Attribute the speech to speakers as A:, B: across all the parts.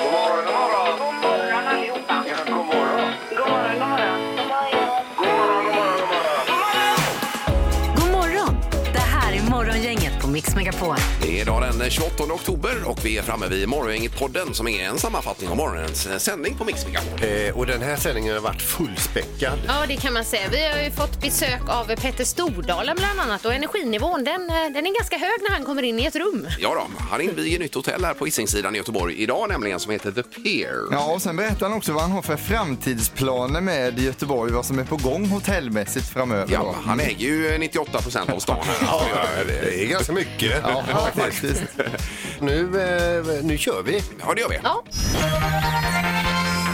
A: God morgon, god morgon. God morgon allihopa. Ja, god morgon. God morgon, god morgon. God morgon, god morgon, god morgon.
B: God morgon! Det här är Morgongänget på Mix Megapol.
C: Det är idag den 28 oktober och vi är framme vid Morgongänget-podden som är en sammanfattning av morgonens eh, sändning på Mix Megapol.
D: Eh, och den här sändningen har varit fullspäckad.
E: Ja, det kan man säga. Vi har ju fått besök av Petter Stordalen bland annat och energinivån den, eh, den är ganska hög när han kommer in i ett rum.
C: Ja då, han inviger nytt hotell här på Hisingssidan i Göteborg idag nämligen som heter The Pier.
F: Ja, och sen berättar han också vad han har för framtidsplaner med Göteborg, vad som är på gång hotellmässigt framöver.
C: Ja,
F: då.
C: han äger ju 98 procent av stan. här.
D: Ja, det är ganska mycket.
F: Ja, faktiskt.
D: Nu, eh, nu kör vi.
C: Ja, det gör vi.
E: Ja,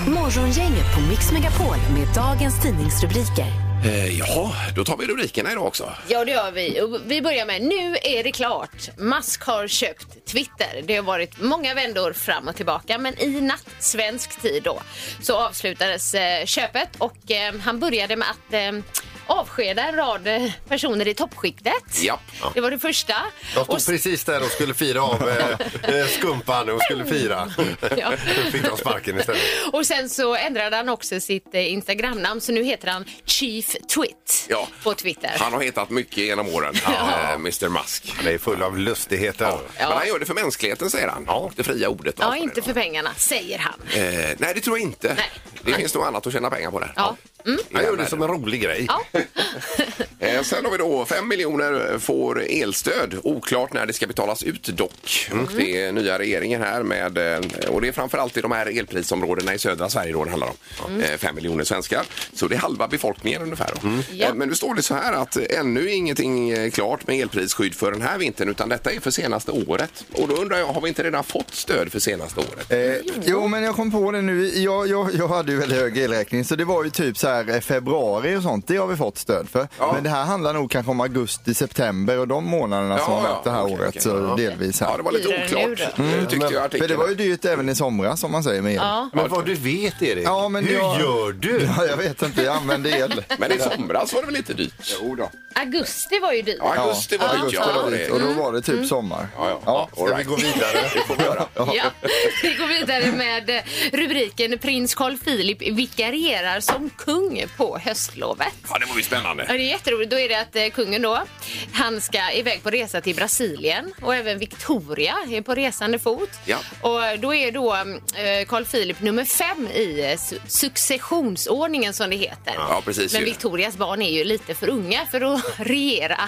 B: Morgongänget på Mix Megapol med dagens tidningsrubriker.
C: Eh, ja, då tar vi rubrikerna idag också.
E: ja det gör vi. Och vi börjar med nu är det klart. Musk har köpt Twitter. Det har varit många vändor fram och tillbaka men i natt, svensk tid då, så avslutades eh, köpet och eh, han började med att eh, avskeda en rad eh, personer i toppskiktet.
C: Ja.
E: Det var det första.
D: Jag
E: Och
F: Mm.
D: stod precis där och skulle fira av eh, eh, skumpan och skulle fira.
E: Ja.
D: Fick de sparken istället.
E: Och sen så ändrade han också sitt eh, Instagramnamn så nu heter han Chief Twit
C: Ja.
E: på Twitter.
C: Han har hetat mycket genom åren, eh, Mr Musk.
D: Han är full av lustigheter.
C: Men han gör det för mänskligheten, säger han. Och det fria ordet. och
E: Ja,
C: allt vad
E: inte
C: det
E: för pengarna, säger han.
C: är. Eh, nej, det tror jag inte.
E: Nej.
C: Det finns nog annat att tjäna pengar på där.
E: Ja. Mm.
D: Han gör det som en rolig grej.
E: Ja.
C: Eh, sen har vi då 5 miljoner får elstöd. Oklart när det ska betalas ut dock. Och det är nya regeringen här med, eh, och det är framförallt i de här elprisområdena i södra Sverige då det handlar om. 5 miljoner svenskar. Så det är halva befolkningen ungefär. Då. Eh, Men nu står det så här att eh, ännu är ingenting eh, klart med elprisskydd för den här vintern utan detta är för senaste året. Och då undrar jag, har vi inte redan fått stöd för senaste året?
F: Eh, jo, men jag kom på det nu. Jag, jag, jag hade ju väldigt hög elräkning, så det var ju typ så här eh, februari och sånt. Det har vi fått stöd för.
C: Ja.
F: Men det här handlar nog kanske om augusti, september och de månaderna som
C: Ja,
F: har
C: ja,
F: varit det här
C: okej,
F: året.
C: okej.
F: så delvis här.
C: Ja, det var lite
E: Blir det nu
C: oklart
E: då?
C: eh, tyckte jag i
F: För Mm, det
C: artikeln.
F: var ju dyrt även i somras, som man säger med el.
E: Ja.
D: Men vad du vet, Erik.
F: Ja, men
D: hur
F: jag-
D: gör du?
F: Ja, jag vet inte, jag använde el.
C: Men i somras var det väl lite dyrt? Jo då.
E: Augusti var ju dyrt.
C: Ja, augusti var dyrt.
F: Augusti
C: Ja,
F: var
C: det-
F: det. Och då var det typ sommar.
C: Ja, ja. ja.
D: Ska vi gå vidare?
C: Det får vi göra.
E: Ja. Vi går vidare med eh, rubriken Prins Carl Philip vikarierar som kung på höstlovet.
C: Ja, det var ju
E: Ja,
C: spännande.
E: det är jätteroligt. Då är det att eh, kungen då, han ska iväg på resa till Brasilien och även Victoria är på resande fot.
C: Ja.
E: Och då är då eh, Carl Philip nummer fem i eh, su- successionsordningen som det heter.
C: Ja, precis
E: Men
C: ju.
E: Victorias barn är ju lite för unga för att regera.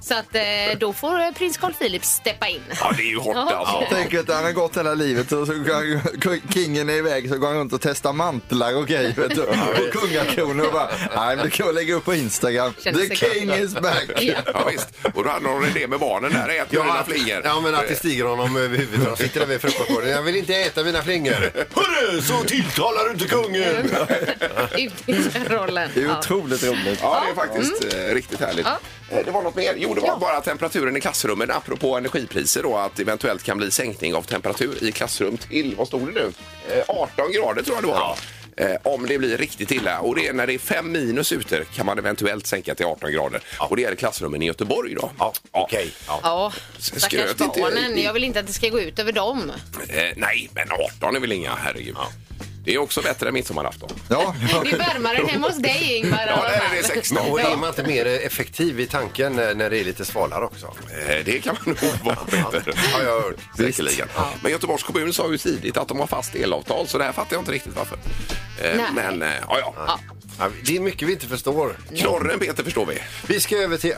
E: Så att eh, då får eh, prins Carl Philip steppa in.
C: Ja, det är ju hårt
E: Ja.
C: alltså.
F: Tänk att han har gått hela livet och så går kingen är iväg så går han runt och testar mantlar och grejer vet du. Och kungakronor och bara, nej men det kan jag lägga upp på Instagram.
E: Känns
F: The
E: det
F: king is back.
E: Ja.
C: Ja, visst. Och då hade hon det med barnen där. Ät ja, dina
D: att-
C: flingor.
D: ja, men att det stiger honom över huvudet. Han sitter där vid frukostbordet. Jag vill inte äta mina flingor. Hörru, så tilltalar du inte kungen!
E: Ut i den rollen.
F: Det är
E: Ja.
F: otroligt roligt.
C: Ja, det är faktiskt
D: Mm.
C: eh, riktigt härligt. Eh, Det var något mer. Jo, det var bara temperaturen i klassrummen. Apropå energipriser då, att eventuellt kan bli sänkning av temperatur i klassrum till, vad stod det nu? Eh, 18 grader tror jag det var. Eh, Om det blir riktigt illa. Och det är när det är 5 minus ute kan man eventuellt sänka till 18 grader. Och det gäller klassrummen i Göteborg då.
D: Ja, okej. Ja.
E: Ja,
C: Skröt
E: stackars
C: inte i-
E: barnen. Jag vill inte att det ska gå ut över dem.
C: Eh, Nej, men 18 är väl inga, herregud. Det är också bättre än midsommarafton.
F: Ja,
E: Det är varmare än hemma hos dig Ingvar. i
C: Ja,
E: alla
C: där är
E: fall.
C: det 16.
D: Och är man inte mer effektiv i tanken när när det är lite svalare också?
C: Eh, Det kan man nog vara, Peter.
D: Ja, jag har hört.
C: Säkerligen. Men Göteborgs kommun sa ju tidigt att de har fast elavtal, så det här fattar jag inte riktigt varför. Eh,
E: Nej.
C: Men eh, ja, ja.
D: Ja, det är mycket vi inte förstår.
C: Knorren, Peter, förstår vi.
D: Vi ska över till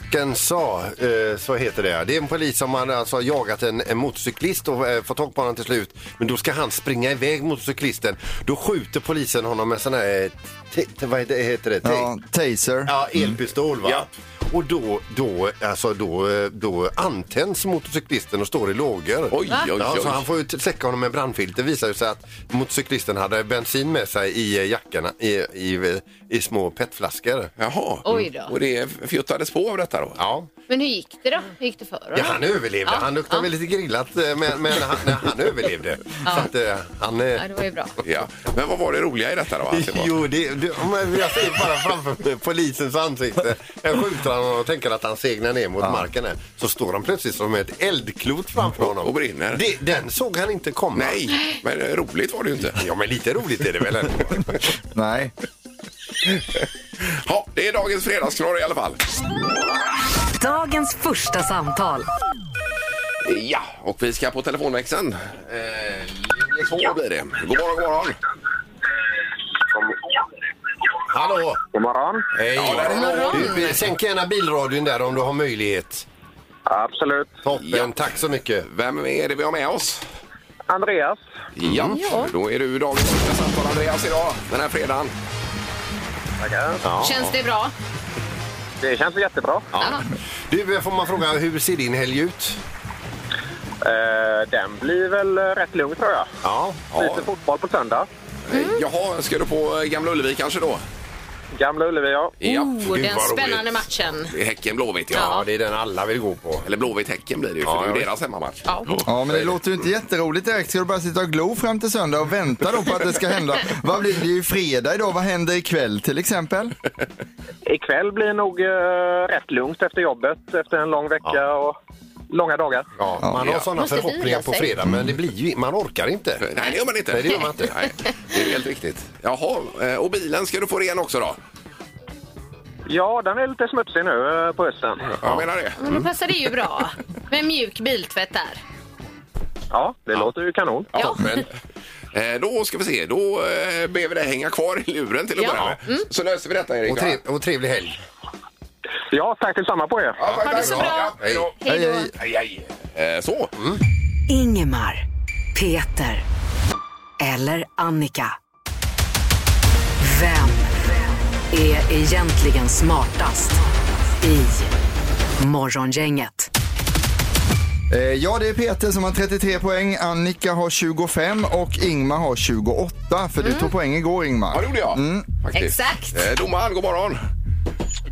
D: Arkansas, eh, så heter det. Det är en polis som har alltså jagat en, en motorcyklist och eh, fått tag på honom till slut. Men då ska han springa iväg motorcyklisten. Då skjuter polisen honom med sån här, eh, te- te- vad heter det? Te-
F: ja taser.
D: Ja, elpistol va?
C: Ja.
D: Och då, då, alltså, då, eh, då antänds motorcyklisten och står i lågor.
C: Oj, Va? oj,
D: Ja,
C: oj.
D: så han får ju t- säcka honom med brandfilter. Det visar ju sig att motorcyklisten hade bensin med sig i eh, jackorna i, i, i små petflaskor.
C: Jaha.
E: Oj då.
C: Och det fjuttades på av detta då?
D: Ja,
E: Men hur gick det då? Hur gick det för honom?
D: ja han överlevde.
E: Ja,
D: Han luktade
E: ja.
D: väl lite grillat eh, men, men han, nej, han överlevde. Så att, eh, han, eh,
E: Ja, det var ju bra.
C: Ja. Men vad var det roliga i detta då? Att det var-
D: Jo, det, det, men jag ser bara framför mig polisens ansikte. Jag skjuter honom och tänker att han segnar ner mot marken. Här. Så står han plötsligt som ett eldklot framför honom.
C: Och brinner.
D: Det, den såg han inte komma.
C: Nej, men eh, roligt var det ju inte.
D: Ja, men lite roligt är det väl ändå?
F: Nej.
C: Ja, det är dagens fredagsknorr i alla fall.
B: Dagens första samtal.
C: Ja, och vi ska på telefonväxeln. Eh, linje två blir det. God morgon, god morgon.
D: Hallå!
A: God morgon.
D: Hej!
E: morgon.
D: Du, sänk gärna bilradion där om du har möjlighet.
A: Absolut.
D: Toppen,
C: Ja.
D: tack så mycket.
C: Vem är det vi har med oss?
A: Andreas.
C: Ja,
E: Ja.
C: då är du dagens första samtal Andreas idag, den här fredagen.
A: Tackar.
E: Känns det bra?
A: Det känns jättebra.
D: Du, får man fråga, hur ser din helg ut?
A: Eh, den blir väl eh, rätt lugn tror jag.
D: Ja.
A: Lite fotboll på söndag.
C: Eh, Jaha, ska du på eh, Gamla Ullevi kanske då?
A: Gamla Ullevi, ja.
C: Ja,
E: oh,
C: gud,
E: den
C: vad roligt.
E: spännande matchen.
C: Det är Häcken-Blåvitt, ja.
D: Ja, det är den alla vill gå på.
C: Eller Blåvitt-Häcken blir det ju, för
D: Ja,
C: det är ju
D: ja.
C: deras hemmamatch.
E: Ja.
C: Så
F: Ja,
C: är
F: men det låter ju inte jätteroligt direkt. Ska du bara sitta och glo fram till söndag och vänta då på att det ska hända? Vad blir det ju fredag idag? Vad händer ikväll till exempel?
A: Ikväll blir nog eh, rätt lugnt efter jobbet, efter en lång vecka och långa dagar.
D: Ja, man har
C: Ja.
D: sådana
E: Måste
D: förhoppningar
E: vila
D: på
E: sig.
D: fredag, men det blir ju, man orkar inte.
C: Nej, det gör man inte.
D: Nej, det gör man inte.
C: Nej, det är helt riktigt. Jaha, eh, och bilen ska du få ren också då?
A: Ja, den är lite smutsig nu eh, på hösten.
C: Jag menar det.
E: Men då passar det ju bra. Med mjuk biltvätt där.
A: Ja, det låter ju kanon.
E: Ja.
C: Toppen. Eh, Då ska vi se, då eh, ber vi dig hänga kvar i luren till att
E: Ja. Mm.
C: börja med. Så löser vi detta Erik.
D: Och,
C: va?
D: trev, och trevlig helg.
A: Ja, tack detsamma på er.
C: Ja,
E: Ha
C: tack,
E: det
C: tack.
E: så bra.
C: Ja, hej då.
E: Hej då.
F: hej.
C: Hej, hej. Eh, Så,
B: Ingemar, Peter eller Annika. Vem är egentligen smartast i Morgongänget?
F: Eh, Ja, det är Peter som har 33 poäng, Annika har 25 och Ingmar har 28. För du tog poäng igår
C: ja
F: Ingmar.
C: det gjorde jag.
D: Mm.
C: Faktiskt.
E: Exakt.
C: Eh, Domaren, god morgon.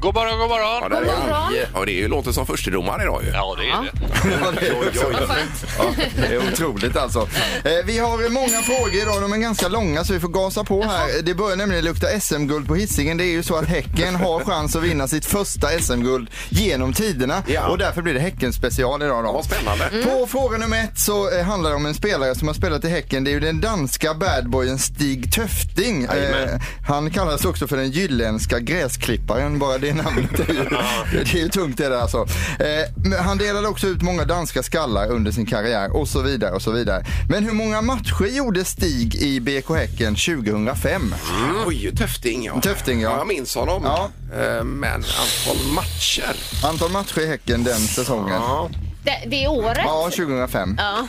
G: God morgon, god morgon.
C: Ja, där är
E: God
C: han.
E: morgon.
C: Ja, det är ju låter som förstedomare idag ju.
G: Ja, det är det.
F: Ja, det är-
E: Vad skönt.
F: Ja, det är otroligt alltså. Eh, Vi har eh, många frågor idag, de är ganska långa så vi får gasa på här. Det börjar nämligen lukta SM-guld på Hisingen. Det är ju så att Häcken har chans att vinna sitt första SM-guld genom tiderna.
C: Ja.
F: Och därför blir det Häcken-special idag då.
C: Vad spännande.
F: På fråga nummer ett så eh, handlar det om en spelare som har spelat i Häcken. Det är ju den danska badboyen Stig Töfting. Eh, han kallas också för den jylländska gräsklipparen. Bara det namnet är ju, det är ju tungt det där alltså. Eh, men han delade också ut många danska skallar under sin karriär och så vidare och så vidare. Men hur många matcher gjorde Stig i BK Häcken 2005?
C: Oj, Töfting ja.
F: Töfting, ja.
C: Jag minns honom.
F: Ja.
C: Eh, Men antal matcher.
F: Antal matcher i Häcken den säsongen?
E: Det, det är året.
F: Ja, 2005.
E: Ja.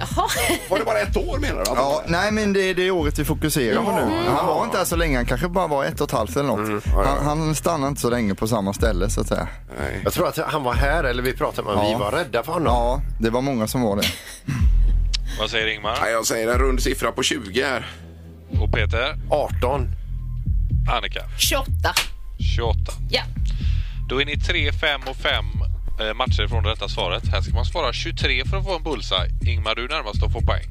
E: Jaha.
C: Var det bara ett år menar du?
F: Ja, nej men det är det året vi fokuserar på nu. Han var inte här så länge, han kanske bara var ett och ett halvt eller något. Han, han stannade inte så länge på samma ställe så att säga.
C: Nej.
D: Jag tror att han var här, eller vi pratade med honom.
F: Ja.
D: Vi var rädda för honom.
F: Ja, det var många som var det.
G: Vad säger Ingmar?
C: Nej, jag säger en rund siffra på 20 här.
G: Och Peter?
D: 18.
G: Annika?
E: 28.
G: 28.
E: Ja.
G: Då är ni 3, 5 och 5 eh, matcher från det rätta svaret. Här ska man svara 23 för att få en bullseye. Ingmar, du är närmast att få poäng.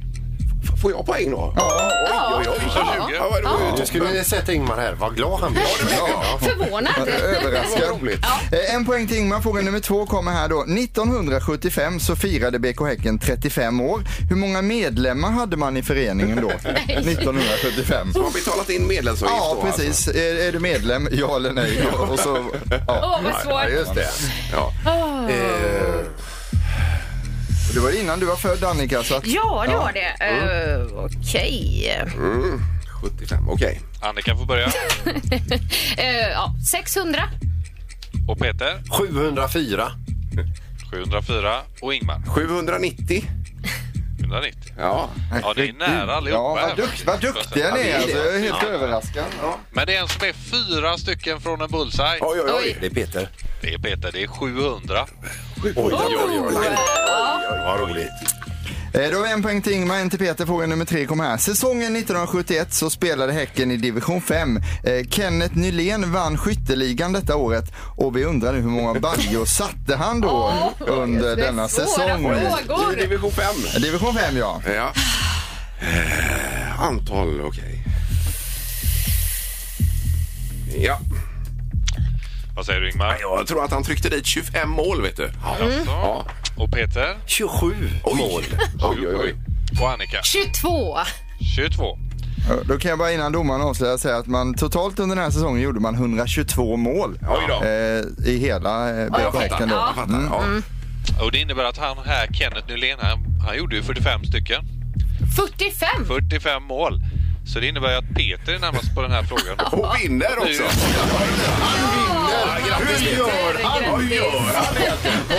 C: F- Får jag poäng då? Ja. Oj, oj, oj.
G: Ja.
C: 20. Ja, det var ju
D: Nu skulle ni sett Ingmar här. Vad glad han blev. Ja.
E: Förvånad.
F: Överraskad.
C: Vad roligt.
F: Eh, En poäng till Ingmar. Fråga nummer två kommer här då. 1975 så firade BK Häcken 35 år. Hur många medlemmar hade man i föreningen då? 1975.
C: Man har betalat in medlemsavgift
F: Ja,
C: då, Alltså.
F: precis. Är, är du medlem? Ja eller nej? Och, och så, ja.
E: Åh, vad
D: Ja,
E: svårt.
D: just det.
C: Ja.
D: Eh,
F: Det var innan du var född Annika. Så att,
E: Ja, det var det. Eh, Okej.
C: 75, okej.
G: Annika får börja.
E: Eh, ja, 600.
G: Och Peter?
D: 704.
G: 704. Och Ingmar?
C: 790.
G: 1990.
C: Ja.
G: Ja, ni är nära allihopa.
F: Ja,
G: här
F: vad, dukt,
G: faktiskt.
F: vad duktiga ni är. Alltså, jag är helt överraskad. Ja.
G: Men det är en som är fyra stycken från en bullseye.
D: Oj, oj, oj.
E: Oj.
D: Det är Peter.
G: Det är Peter, det är 700.
D: Oj, oj, oj. oj, oj. Vad roligt.
F: Eh, Då har vi en poäng till Ingmar, en till Peter. Fråga nummer tre kommer här. Säsongen 1971 så spelade Häcken i division 5. Eh, Kenneth Nylén vann skytteligan detta året och vi undrar nu hur många baljor satte han då under
E: Det är
F: denna
E: svåra
F: säsong?
C: I
E: frågor.
C: division 5.
F: Division 5 ja.
C: Ja. Eh, Antal, okej. Ja.
G: Vad säger du Ingmar?
C: Jag tror att han tryckte dit 25 mål, vet du.
G: Ja. Och Peter
D: 27 mål.
C: Oj, oj, oj.
G: och Annika
E: 22.
G: 22.
F: Eh, Då kan jag bara innan domaren avslöjar säga att man totalt under den här säsongen gjorde man 122 mål.
C: Oj då.
F: eh, I hela eh,
C: jag
F: BK
C: fattar.
F: Häcken då. Mm.
C: Jag fattar. Ja.
G: Mm. Och det innebär att han här, Kenneth Nylén, han, han gjorde ju 45 stycken.
E: 45.
G: 45 mål. Så det innebär ju att Peter är närmast på den här frågan.
C: Och vinner också.
D: Hur gör han? Hur gör han?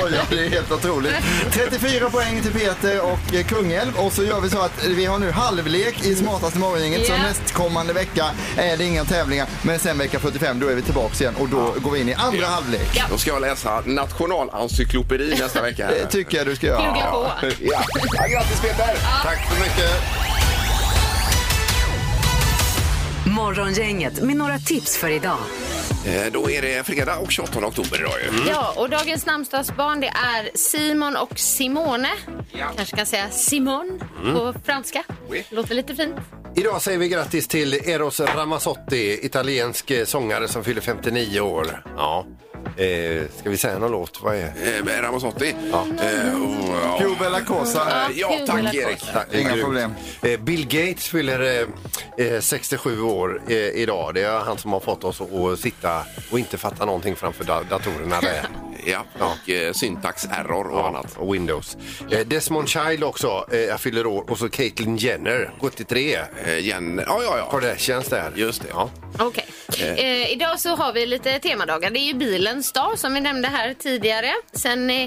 F: Oj, ja, det är helt otroligt. 34 poäng till Peter och eh, Kungälv. Och så gör vi så att vi har nu halvlek i Smartaste morgongänget.
E: Ja.
F: Så nästkommande vecka är det inga tävlingar. Men sen vecka 45, då är vi tillbaka igen och då går vi in i andra halvlek.
C: Då ska jag läsa Nationalencyklopedi nästa vecka. här.
F: Det tycker jag du ska göra.
E: Plugga på.
C: Ja. Ja, grattis Peter!
D: Tack så mycket.
B: Morgongänget med några tips för idag.
C: Eh, Då är det fredag och 28 oktober idag ju.
E: Ja, och dagens namnsdagsbarn det är Simon och Simone. Kanske kan säga Simon på franska.
C: Mm. Oui.
E: Låter lite fint.
D: Idag säger vi grattis till Eros Ramazzotti, italiensk eh, sångare som fyller 59 år. Ja. Eh, ska vi säga någon låt? Vad är
C: Eh, med Ramazzotti. Eh, och, ja.
F: Pio Bella Cosa.
C: Eh, Ja, tack Erik.
D: Tack,
F: Inga
D: grymt.
F: problem.
D: Eh, Bill Gates fyller eh, eh, 67 år eh, idag. Det är han som har fått oss att- att sitta och inte fatta någonting framför da- datorerna. Där.
C: Ja, och eh, syntax error och annat.
D: Och Windows. Eh, Desmond Child också eh, fyller år och så Caitlyn Jenner, 73.
C: Eh, Jen... Ja, ja, ja.
D: Kardashians där.
C: Just det.
D: Ja.
E: Okej. Eh, idag så har vi lite temadagar. Det är ju bilens dag som vi nämnde här tidigare. Sen, eh,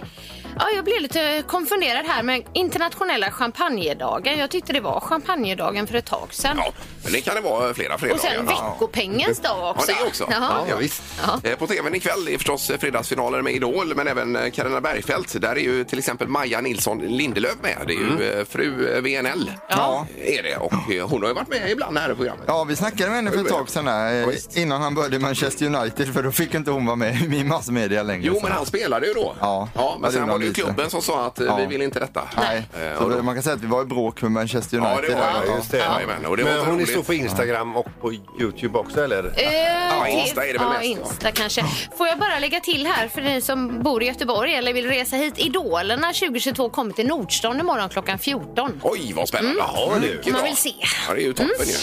E: ja, jag blev lite konfunderad här med internationella champagnedagen. Jag tyckte det var champagnedagen för ett tag sedan.
C: Ja, men det kan det vara flera fredagar.
E: Och sen veckopengens dag
C: Ja,
E: också.
C: det också.
E: Jaha.
D: Ja, visst.
C: Eh, På tvn ikväll är förstås eh, fredagsfinaler med Idol men även eh, Carina Bergfeldt. Där är ju till exempel Maja Nilsson Lindelöf med. Det är ju
F: Mm.
C: eh, fru eh, VNL.
F: Ja.
C: Är det. Och eh, hon har ju varit med ibland här i programmet.
F: Ja, vi snackade med henne för ett tag sedan där, eh, innan han började i Manchester United för då fick inte hon vara med i massmedia längre.
C: Jo,
F: Så-
C: men han spelade ju då.
F: Ja.
C: ja men
F: Ja, det
C: sen
F: gjorde
C: var
F: han
C: det ju
F: lite.
C: klubben som sa att eh,
F: Ja.
C: vi vill inte detta.
F: Nej,
C: Eh,
F: så
C: och då-
F: man kan säga att vi var i bråk med Manchester
C: Ja,
F: United.
C: det var jag.
F: där.
C: Just det. Jajamän, och det var
D: Men hon är
C: roligt.
D: stor på Instagram och på Youtube också, eller?
E: Eh,
C: Ja,
E: till-
C: Insta är det väl
E: ja,
C: mest, ja.
E: Insta kanske. Får jag bara lägga till här för ni som bor i Göteborg eller vill resa hit. Idolerna 2022 kommer till Nordstan imorgon klockan 14.
C: Oj, vad spännande. Ja, det är ju
E: Om man
C: bra.
E: vill se.
C: Ja, det är ju toppen ju.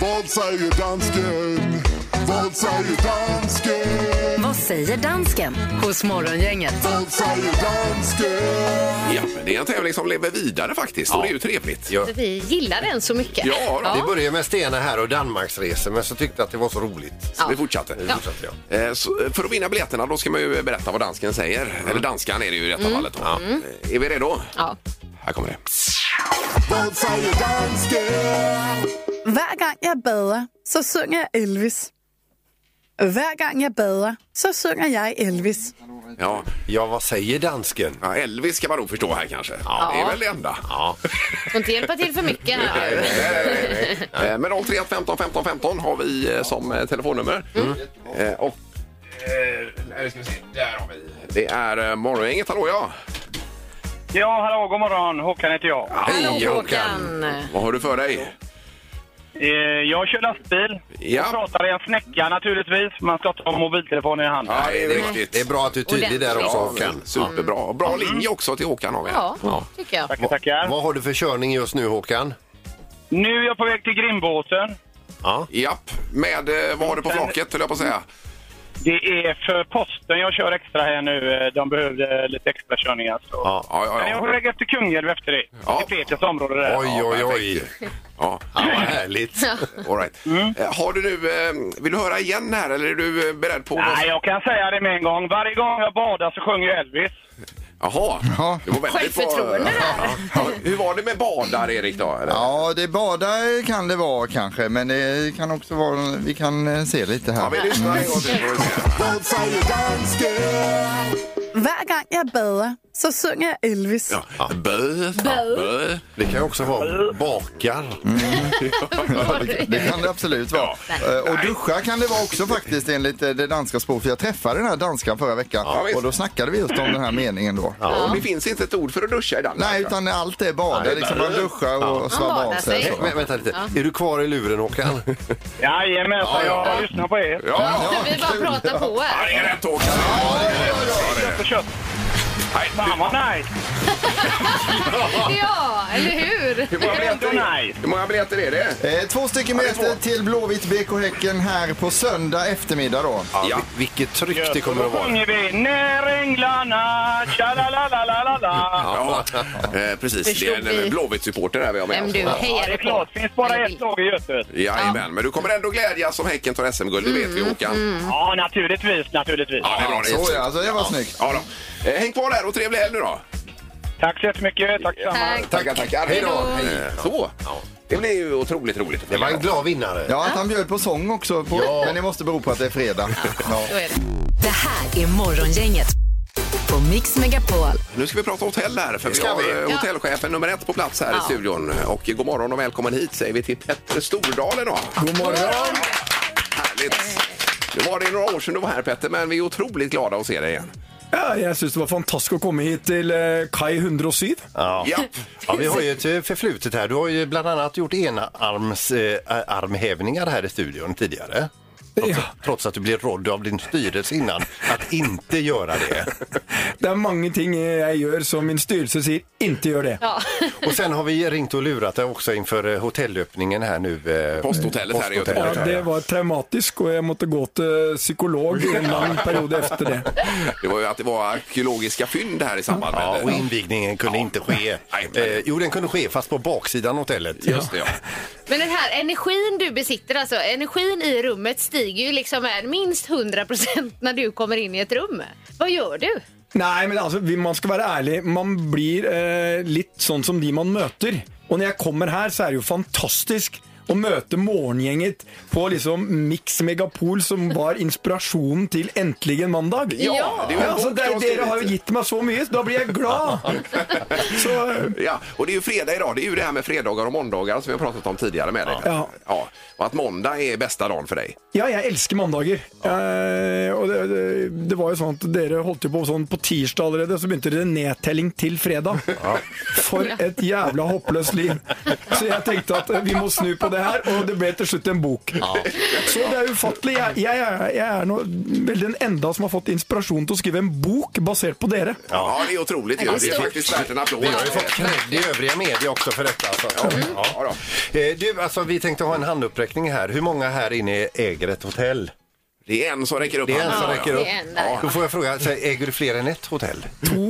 H: Vad säger dansken? Vad säger dansken?
B: Vad säger dansken hos Morgongänget?
H: Vad säger dansken?
C: Ja, det är en tävling som lever vidare faktiskt och det är ju trevligt.
D: Ja.
E: Vi gillar den så mycket.
C: Ja, då.
D: Det började med Stena här och Danmarksresor, men så tyckte jag att det var så roligt.
C: Så vi fortsatte.
D: Vi fortsatte, ja.
C: Eh, Så eh, för att vinna biljetterna då ska man ju berätta vad dansken säger. Eller danskan är det ju i detta fallet. Då. Eh, Är vi redo?
E: Ja.
C: Här kommer det.
H: Vad säger dansken?
I: Hver gang jeg bader, så synger jeg Elvis. Hver gang jeg bader, så synger jeg Elvis.
C: Ja.
D: Ja, vad säger dansken?
C: Ja, Elvis ska man nog förstå här kanske. Ja. Det är väl det enda. Ja.
E: Får inte hjälpa till för mycket här.
C: Eh, Men 031 15 15 15 har vi eh, som eh, telefonnummer. Eh, Och eh, nej, ska vi se. Där har vi. Det är eh, Morgongänget. Hallå ja!
A: Ja, hallå, god morgon. Håkan heter jag.
C: Hej
E: Håkan.
C: Vad har du för dig?
A: Eh, Jag kör lastbil.
C: Ja.
A: Och pratar i en snäcka naturligtvis. Man ska inte ha mobiltelefonen i handen.
C: Ja, det är riktigt.
D: Det är bra Mm. att du är tydlig där också,
C: Ja,
D: Håkan.
C: Superbra. Bra linje också till Håkan har vi. här.
E: Ja, tycker jag.
A: Tackar, tackar.
D: Vad har du för körning just nu, Håkan?
A: Nu är jag på väg till Grindbåten.
C: Japp, med eh, vad har du på flaket höll jag på att säga.
A: Det är för posten jag kör extra här nu. Eh, De behövde lite extra körningar. Så.
D: Ja.
C: Ja, ja,
A: Men jag är på
C: ja.
A: väg efter Kungälv efter det.
C: Ja.
A: Till Peters område där.
D: Oj, oj, oj.
C: ja.
D: Ja, vad härligt.
C: All right. Eh, Har du nu, eh, vill du höra igen här eller är du eh, beredd på? vad-
A: Nej, jag kan säga det med en gång. Varje gång jag badar så sjunger jag Elvis.
C: Jaha, det var väldigt bra.
F: Självförtroende
C: Ja. Ja. Hur var det med badar, Erik? Då, eller?
F: Ja, det badar kan det vara kanske, men det kan också vara, vi kan eh, se lite här.
C: Ja, vi lyssnar en gång till. får vi se.
I: Hver gang jeg bader, så synger jag Elvis.
D: Ja. Bö.
I: Bö.
D: Bö. Det kan ju också vara bakar.
F: Ja, det, det kan det absolut vara. Eh, Och duscha kan det vara också faktiskt enligt eh, det danska språket. För jag träffade den här danskan förra veckan och då snackade vi just om den här meningen då.
C: Ja. Och det finns inte ett ord för att duscha i Danmark?
F: Nej, utan allt är bada.
C: Nej,
F: liksom
C: bara-
F: man duschar och
C: Ja.
F: svavar av
C: Man
F: sig.
C: badar sig. Vä- vänta lite.
D: Är du kvar i luren Håkan?
A: Jajamensan,
D: Ja, ja.
A: jag lyssnar på er.
D: Ja.
E: Vi bara pratar på här.
C: Det är rätt Håkan. Ja, det är rätt. Ja, det är
A: Kött och kött.
C: rätt.
A: Fan vad nice.
E: Ja, eller hur?
C: Hur många biljetter är det? Hur många biljetter är det?
F: Eh, Två stycken biljetter till Blåvitt BK Häcken här på söndag eftermiddag då.
D: Ja, vil- Vilket tryck det kommer att
A: Då
D: vara.
A: sjunger vi När änglarna tja-la-la-la-la-la-la.
C: Ja, eh, precis. Det
E: Förstod
C: är
E: vi.
C: en Blåvitt-supporter här vi har med
E: Vem
C: oss.
E: du
A: Ja, det är
E: hejar på.
A: klart. Det finns bara ett lag i Götet.
C: Jajamän, men du kommer ändå glädjas om Häcken tar SM-guld, det vet vi Håkan.
E: mm.
A: Ja, naturligtvis, naturligtvis.
C: Ja, det är bra. Det är
F: Så ja,
C: snyggt.
F: alltså det var snyggt.
C: ja, då. Eh, Häng kvar där och trevlig helg nu då.
A: Tack så jättemycket. Tack detsamma.
E: Tack.
C: Tackar, tackar. Hej då. Eh, Så. Det blir ju otroligt roligt.
D: Det var en glad vinnare.
F: Ja, att han bjöd på sång också. På,
D: Ja.
F: Men det måste bero på att det är fredag. Ja.
E: Så är det.
B: Det här är Morgongänget på Mix Megapol.
C: Nu ska vi prata hotell här, för vi
D: ska
C: har
D: vi.
C: eh, hotellchefen nummer ett på plats här i studion. Och god morgon och välkommen hit säger vi till Petter Stordalen då. God morgon! Härligt! Nu var det några år sedan du var här Petter, men vi är otroligt glada att se dig igen.
J: Ja, jeg syns det var fantastisk å komme hit til eh, Kai 107.
D: Ja.
C: Ja.
D: Ja, vi har ju ett eh, förflutet här. Du har ju bland annat gjort enarmshävningar här i studion tidigare. Trots,
J: Ja.
D: trots att du blev rådd av din styrelse innan att inte göra det.
J: Det er mange ting jeg gjør som min styrelse sier ikke gjør det.
D: Och sen har vi ringt och lurat dig också inför eh, hotellöppningen här nu. eh,
C: Posthotellet här i
J: Ja,
C: Göteborg.
J: det var traumatisk, og jeg måtte gå til psykolog en lang periode etter det.
C: Det var ju att det var arkeologiska fynd här i samband med
D: Ja, och
C: det.
D: invigningen kunde inte ske.
C: Nej, men-
D: Eh, jo, den kunde ske fast på baksidan av hotellet.
C: Just det, ja.
E: Men den här energin du besitter, alltså energin i rummet stiger ju liksom med minst 100 procent när du kommer in i ett rum. Vad gör du?
J: Nei, men altså, vi- man skal være ærlig. Man blir eh, litt sånn som de man møter. Og når jeg kommer her, så er det jo fantastisk å møte morgengjenget på liksom Mix Megapol, som var inspirasjonen til Endelig en mandag.
C: Ja, det er jo en
J: Ja, altså,
C: bok
J: det,
C: du har
J: dere har
C: skrevet.
J: jo gitt meg så mye, så da blir jeg glad! Så eh,
C: Ja, och det är ju fredag idag. Det är ju det här med fredagar och måndagar som vi har pratat om tidigare med dig.
J: Ja.
C: ja. Och att måndag är bästa dagen för dig.
J: Ja, jeg elsker mandager. Eh, og det, det, det var jo sånn at dere holdt jo på sånn på tirsdag allerede, så begynte dere nedtelling til fredag. For et jævla hoppløst liv. Så jeg tenkte at eh, vi må snu på det her, og det ble til slutt en bok. Så eh, det er ufattelig. Jeg, jeg, er- jeg er nå vel den enda som har fått inspirasjon til å skrive en bok basert på dere.
C: Ja, det är otroligt. ju.
E: det är
C: Det är
E: stort.
C: faktiskt värt en applåd.
D: Vi har ju fått cred i övriga media också för detta. Alltså. Ja, ja. Eh, Du, alltså, vi tänkte ha en handuppräckning här. Hur många här inne äger ett hotell?
C: Det är en som räcker upp
D: Det är en
C: handen.
D: som
C: Ja,
D: räcker
C: ja.
D: upp.
E: det är en där,
C: Ja.
D: Då får jag fråga, så här, äger du fler än ett hotell?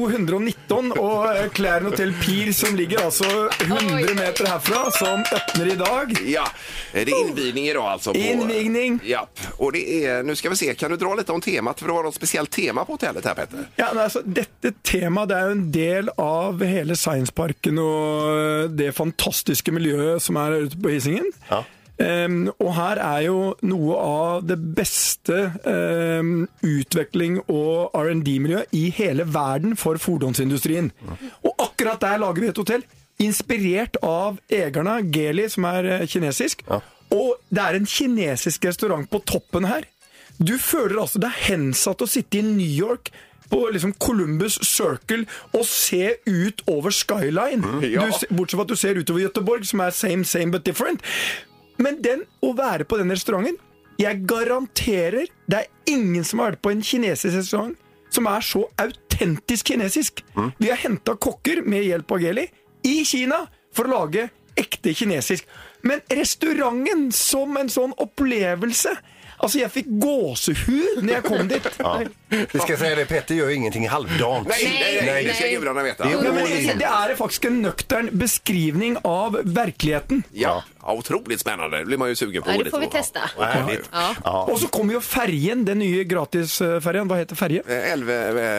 J: 219 og eh, Claren Hotel Pier, som ligger altså 100 meter herfra, som åpner i dag.
C: Ja, det är invigning idag alltså. På...
J: Invigning.
C: Ja, och det är, nu ska vi se, kan du dra lite om temat? För det var något speciellt tema på hotellet här Petter.
J: Ja, men altså, dette temaet det er jo en del av hele Scienceparken og eh, det fantastiske miljøet som er her ute på Hisingen.
D: Ja.
J: Em, og her er jo noe av det beste em, utvikling- og R&D-miljøet i hele verden for fordonsindustrien. Og akkurat der lager vi et hotell, inspirert av egerne, Geli, som er eh, kinesisk. Og det er en kinesisk restaurant på toppen her. Du føler altså det er hensatt å sitte i New York på liksom Columbus Circle og se ut over skyline.
C: ja.
J: du, se- bortsett fra at du ser utover Göteborg, som er same, same but different. Men den, å være på den restauranten Jeg garanterer det er ingen som har vært på en kinesisk restaurant som er så autentisk kinesisk. Vi har henta kokker med hjelp av Geli i Kina for å lage ekte kinesisk. Men restauranten som en sånn opplevelse Altså, jeg fikk gåsehud når jeg kom dit.
D: Vi ska säga det, Petter gör ju ingenting halvdant.
C: Nej, nej, nej, det ska gudarna veta.
D: Det är
J: Nej, men
D: all in.
J: det, det är faktiskt en nöktern beskrivning av verkligheten.
C: Ja, ja otroligt spännande. Det blir man ju sugen på.
J: Ja, det
C: lite
J: får vi
C: då.
J: testa.
C: Vad härligt.
J: Ja. Och så kommer ju färgen, den nya gratisfärgen. Vad heter färgen?
C: Eh, Älv...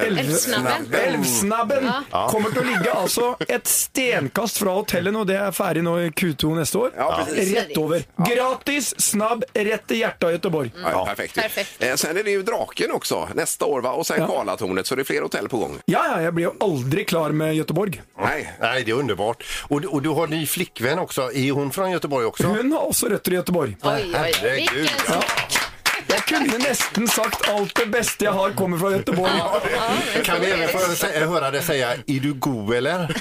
J: Älvsnabben.
C: Älvsnabben.
J: Älvsnabben kommer till att ligga alltså ett stenkast från hotellen och det är färdig nu i Q2 nästa år.
C: Ja, precis.
J: Rätt över. Gratis, snabb, rätt i hjärtat i Göteborg.
C: Ja, perfekt.
J: Mm. Perfekt.
C: Eh, sen är det ju draken också nästa år va? och sen Karlatornet så det är fler hotell på gång.
J: Ja, ja, jag blir ju aldrig klar med Göteborg.
C: Nej.
D: Nej, det är underbart. Och, du- och du har ny flickvän också. Är hon från Göteborg också?
J: Hon har också rötter i Göteborg.
D: Oj, oj, oj. Vilken
J: Ja. Jag kunde nästan sagt allt det bästa jag har kommer från Göteborg.
D: Kan vi även få sä- höra dig säga, är du god eller?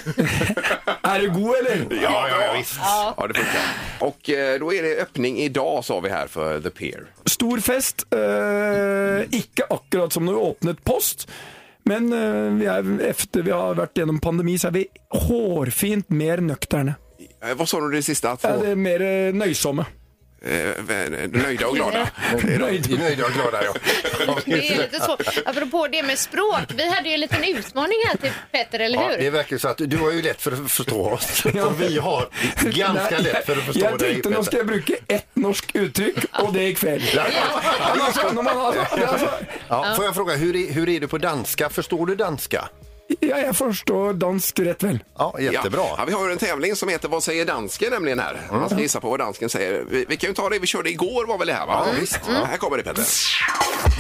J: är du god eller?
D: Ja, ja, ja visst.
C: Ja. det funkar. Och eh, då är det öppning idag sa vi här för The Pier.
J: Stor fest. Eh, ikke akkurat som når vi åpnet post. Men eh, vi, er, efter vi har vært gjennom pandemi, så er vi hårfint mer nøkterne.
C: Eh, vad sa du det sista? Att
J: Ja, det är mer eh, nöjsomme.
C: Eh, nöjda och glada.
J: Nöjda.
D: Nöjda och glada, ja.
E: Det är lite svårt. Apropå det med språk, vi hade ju en liten utmaning här till Petter, eller
D: Ja,
E: hur?
D: det verkar ju så att du har ju lätt för att förstå oss. Och vi har ganska lätt för att förstå
J: jag, jag
D: dig.
J: tänkte nå
D: Peter.
J: ska jag bruka ett norsk uttryck och det gick fel.
D: Ja.
J: Alltså, när man, har- alltså,
D: Ja, får jag fråga, hur är, hur är du på danska? Förstår du danska?
J: ja, jag förstår dansk rätt väl.
D: Ja, jättebra.
C: Ja. Ja, vi har ju en tävling som heter Vad säger dansken nämligen här. Man ska gissa på vad dansken säger. Vi, vi kan ju ta det vi körde igår var väl det här va? Ja, visst. Mm. Ja, här kommer det Petter.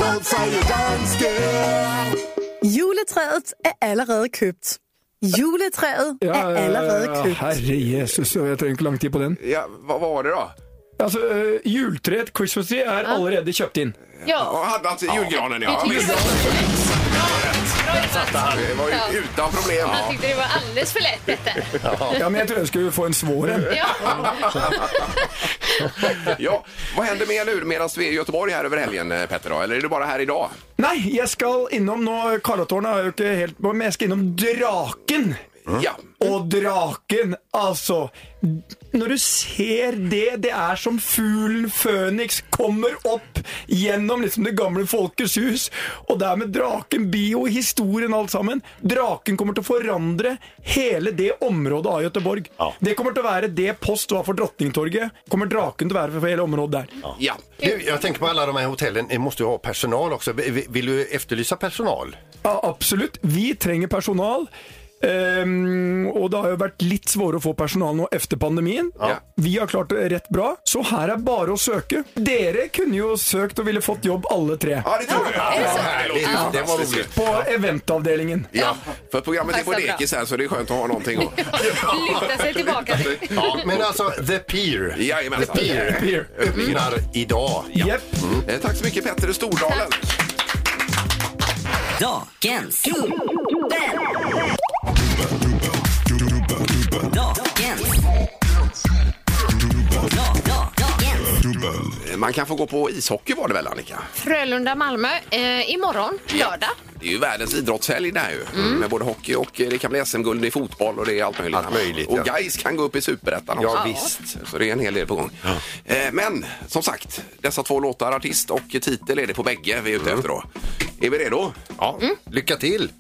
H: Vad säger dansken?
I: Juletræet er allerede købt. Juletræet er allerede købt.
J: herre Jesus, jag trengte ikke lang tid på den.
C: Ja, vad var det då?
J: Altså, eh, Juletreet, Christmas tree, är allerede köpt in.
C: Ja, hade alltså julgranen ja.
E: Du tyckte det var
C: Det var ju utan problem.
E: Han tyckte det var alldeles för lätt Petter.
J: Ja, men jag tror jag skulle få en svår en.
C: ja, vad händer med nu medan vi är i Göteborg här över helgen eh, Petter då? Eller är du bara här idag?
J: Nei, jeg skal innom nå Karlatårnet er jo ikke helt på, men jeg skal innom Draken.
C: Ja.
J: Og draken, altså Når du ser det, det er som fuglen Føniks kommer opp gjennom liksom det gamle Folkets hus. Og det er med draken, bio, historien, alt sammen. Draken kommer til å forandre hele det området av Göteborg. Det kommer til å være det Post var for Drottningtorget. Kommer draken till å være for hele området der.
C: Ja.
D: Du, jag tänker på alla de här hotellen, ni måste ju ha personal också. Vill vill du efterlysa personal?
J: Ja, absolutt. Vi trenger personal. Ehm, og det har jo vært litt svårere å få personal nå efter pandemien.
D: Ja.
J: Vi har klart det rett bra, så her er bare å søke. Dere kunne jo søkt og ville fått jobb alle tre.
C: Ja, det tror jag.
D: det så? Ja, det var roligt.
J: På eventavdelingen.
C: Ja, för programmet är på
J: Passar bra.
C: dekis här så det är skönt att ha någonting att...
E: Luta sig tillbaka.
D: Ja, men alltså, The Pier.
C: Jajamensan.
D: The Pier. Öppnar idag.
J: Ja.
C: Mm. Eh, Tack så mycket Petter i Stordalen.
A: Dagens Dagens
C: Eh, Man kan få gå på ishockey var det väl Annika?
E: Frölunda-Malmö eh, imorgon, lördag.
C: Det är ju världens idrottshelg det här ju. Med både hockey och eh, det kan bli SM-guld i fotboll och det är allt möjligt. och
D: ja.
C: Gais kan gå upp i superettan
D: Ja,
C: också.
D: visst.
C: Så det är en hel del på gång. Eh, Men som sagt, dessa två låtar, artist och titel är det på bägge vi är ute efter då. Är vi redo?
D: Ja. Mm. Lycka till!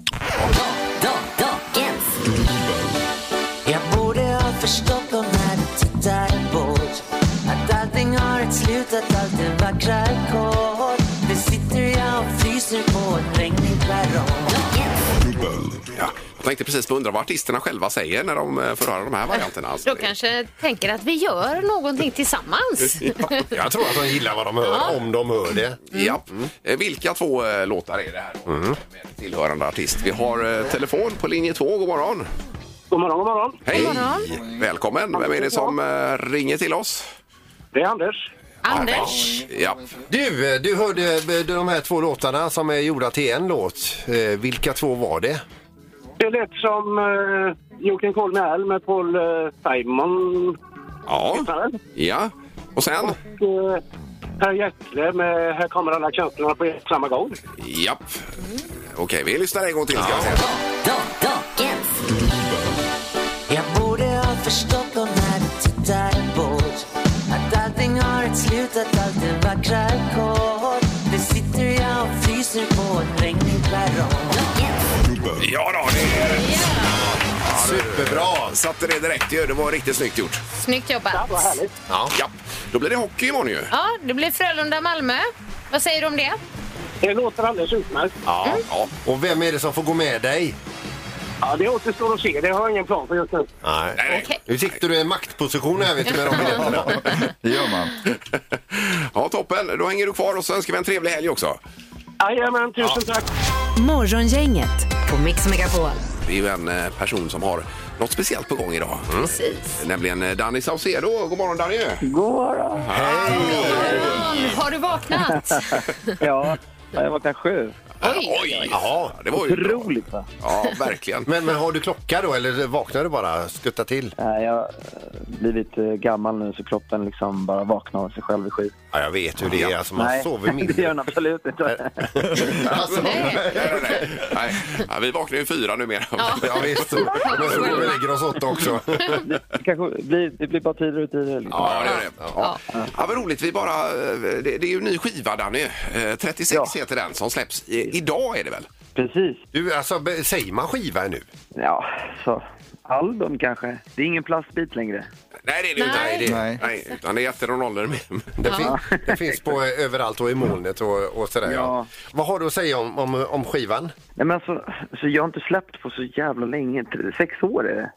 A: Jag borde ha förstått dem när du tittade bort Att allting har ett slut, att allt är vackra ackord Nu sitter jag och fryser på en regnig perrong
C: Ja. Jag tänkte precis på undra vad artisterna själva säger när de eh, får höra de här varianterna. Alltså,
E: Då kanske tänker att vi gör någonting tillsammans.
D: Jag tror att de gillar vad de hör,
E: Ja.
D: om de hör det.
C: Ja. Eh, Vilka två eh, låtar är det här då, med tillhörande artist? Vi har eh, telefon på linje 2. God morgon!
K: God morgon, god morgon.
C: Hej! Välkommen! Vem är det som eh, ringer till oss?
K: Det är Anders.
E: Anders!
C: Ja.
D: Du, eh, du hörde eh, de här två låtarna som är gjorda till en låt. Eh, Vilka två var det?
K: Det lät som uh, You can call me Al med Paul eh, Simon.
C: Ja. Ja. Och sen?
K: Och eh, Per Gessle med Här kommer alla känslorna på samma gång.
C: Japp. Okej, vi lyssnar en gång till. Ska vi se.
A: Jag borde ha förstått dem när du tittade bort Att allting har ett slut, att allt är vackra ackord Nu sitter jag och fryser på en regnig
C: Ja då, det är rätt. Superbra! Satte det direkt ju. Det var riktigt snyggt gjort.
E: Snyggt jobbat.
C: Ja. ja. Då blir det hockey imorgon ju.
E: Ja, det blir Frölunda-Malmö. Vad säger du om det?
K: Det låter alldeles utmärkt.
D: Ja. Mm. Och vem är det som får gå med dig?
K: Ja, det återstår att se. Det har jag ingen plan för just nu.
D: Nej. Nu sitter du i en maktposition här vet du, med de biljetterna.
C: Det gör man. ja, toppen. Då hänger du kvar och så önskar vi en trevlig helg också.
K: Jajamän, tusen tack.
B: Morgongänget på Mix Megapol.
C: Det är ju en eh, person som har något speciellt på gång idag. Precis. Nämligen eh, Danny Saucedo. God morgon Danny! God morgon! Hej!
E: Har du vaknat?
L: ja, jag vaknade sju.
E: Oj, oj, oj.
C: Jaha, det var ju
L: Otroligt va?
C: Ja, verkligen.
D: Men, men har du klocka då eller vaknar du bara? Skutta till?
L: Nej, jag har eh, blivit eh, gammal nu så kroppen liksom bara vaknar av sig själv vid sju.
D: Ja, jag vet hur det är. Alltså, man
L: Nej,
D: sover mindre.
L: det gör den absolut inte.
D: Alltså,
C: Nej, ja, vi vaknar ju fyra numera.
D: Ja. Ja, visst. Men jag tror vi lägger oss åtta också.
L: det, kanske blir, det blir bara tidigare och tidigare. Liksom.
C: Ja, det är det. Ja. Ja, vad roligt. Vi bara, eh, det, det är ju en ny skiva, Danny. Eh, 36 heter den som släpps. I, idag är det väl?
L: Precis.
D: Du, alltså, be- säger man skiva nu?
L: Ja, så album kanske. Det är ingen plastbit längre.
C: Nej, det är det ju inte.
L: Nej.
C: Nej, det,
L: Nej.
C: nej. utan det är efter och nollor. med-
D: Det, fin- det finns på eh, överallt och i molnet och, och sådär. Ja.
L: Ja.
D: Vad har du att säga om, om, om skivan?
L: Nej, men alltså, så jag har inte släppt på så jävla länge. Tre- Sex år är det.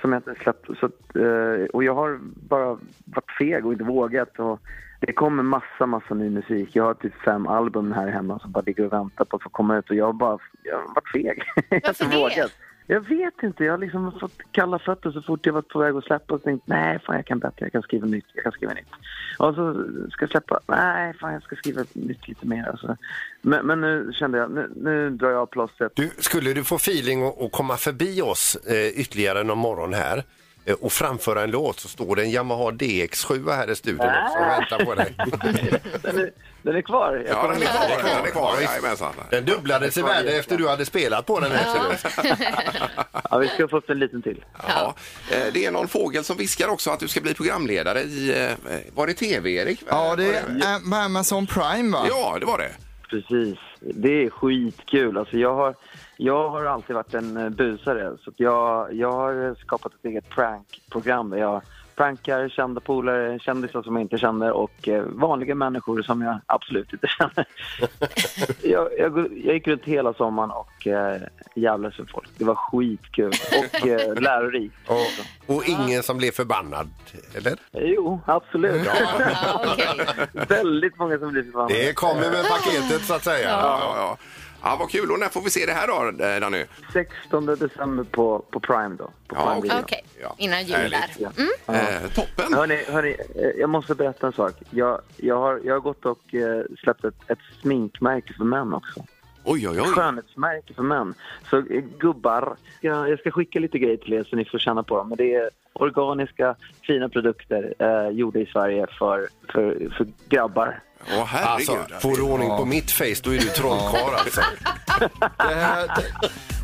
L: Som jag inte har släppt. Så, att, eh, och jag har bara varit feg och inte vågat. Och det kommer massa, massa ny musik. Jag har typ fem album här hemma som bara ligger och väntar på att få komma ut. Och jag har bara jag har varit feg. jag har inte vågat. Jag vet inte. Jag har liksom fått kalla fötter så fort jag var på väg att släppa. Och tänkt, nej, fan jag kan bättre. Jag kan skriva nytt. Jag kan skriva nytt. Och så ska jag släppa. Nej, fan jag ska skriva nytt lite mer. Alltså. Men, men nu kände jag, nu, nu drar jag av plåstret.
D: Du, skulle du få feeling och, och komma förbi oss eh, ytterligare någon morgon här eh, och framföra en låt så står det en Yamaha DX7 här i studion
C: Äh.
D: också och väntar på dig.
L: Den är, den är kvar. Jag
C: Ja, den är kvar. Den är kvar. Jajamensan.
D: Den dubblades i värde efter du hade spelat på den här. ser du.
L: Ja, vi ska få en liten till.
C: Ja. Eh, Det är någon fågel som viskar också att du ska bli programledare i, eh, var det TV Erik?
F: Ja, det är Am- Amazon Prime va?
C: Ja, det var det.
L: Precis. Det är skitkul. Alltså jag, har, jag har alltid varit en eh, busare. Så att jag, jag har skapat ett eget prankprogram där jag prankar kända polare, kändisar som jag inte känner och eh, vanliga människor som jag absolut inte känner. jag, jag, går- jag gick runt hela sommaren och eh, jävlades med folk. Det var skitkul och eh, lärorikt.
D: Och, och ingen som blev förbannad, eller?
L: Jo, absolut.
D: Ja.
L: Väldigt många som blir förbannade.
D: Det kommer med paketet så att säga.
C: Ja, ja, ja. ja vad kul. Och när får vi se det här då, eh, Danny?
L: 16 december på, på Prime då. På
C: Ja,
L: Prime
C: okej.
L: Video.
E: Okej, innan jul där.
C: Härligt.
E: Mm.
C: Eh, toppen!
L: Hörni, hörni, eh, jag måste berätta en sak. Jag, jag, har, jag har gått och eh, släppt ett, ett sminkmärke för män också.
C: Oj, oj, oj.
L: Skönhetsmärke för män. Så eh, gubbar, jag, jag ska skicka lite grejer till er så ni får känna på dem. Men det är organiska, fina produkter eh, gjorda i Sverige för, för, för grabbar.
C: Åh, herregud.
D: Alltså, får du ordning på mitt face då är du trollkarl alltså.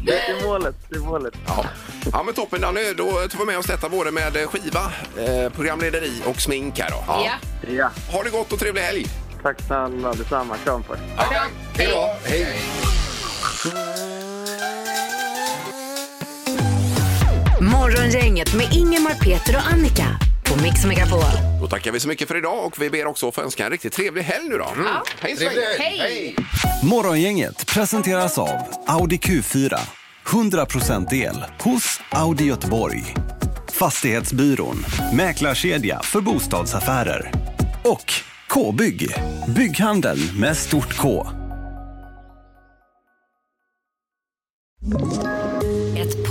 L: Det är målet, det är målet.
C: Ja. ja, men toppen Danny. Då tar vi med oss detta både med eh, skiva, eh, programlederi och smink här då.
E: Ja.
L: Ja.
C: Ha det gott och trevlig helg!
L: Tack snälla, detsamma. Kram på er.
D: Hej då! Hej!
B: Morgongänget med Ingemar, Peter och Annika på Mix Megapol.
C: Då tackar vi så mycket för idag och vi ber också att få önska en riktigt trevlig helg nu då. Hej, så
D: Mm. Trevlig helg.
C: länge.
D: Hej.
M: Morgongänget presenteras av Audi Q4. 100% el hos Audi Göteborg. Fastighetsbyrån, mäklarkedja för bostadsaffärer. Och K-bygg, bygghandeln med stort K.
N: Ett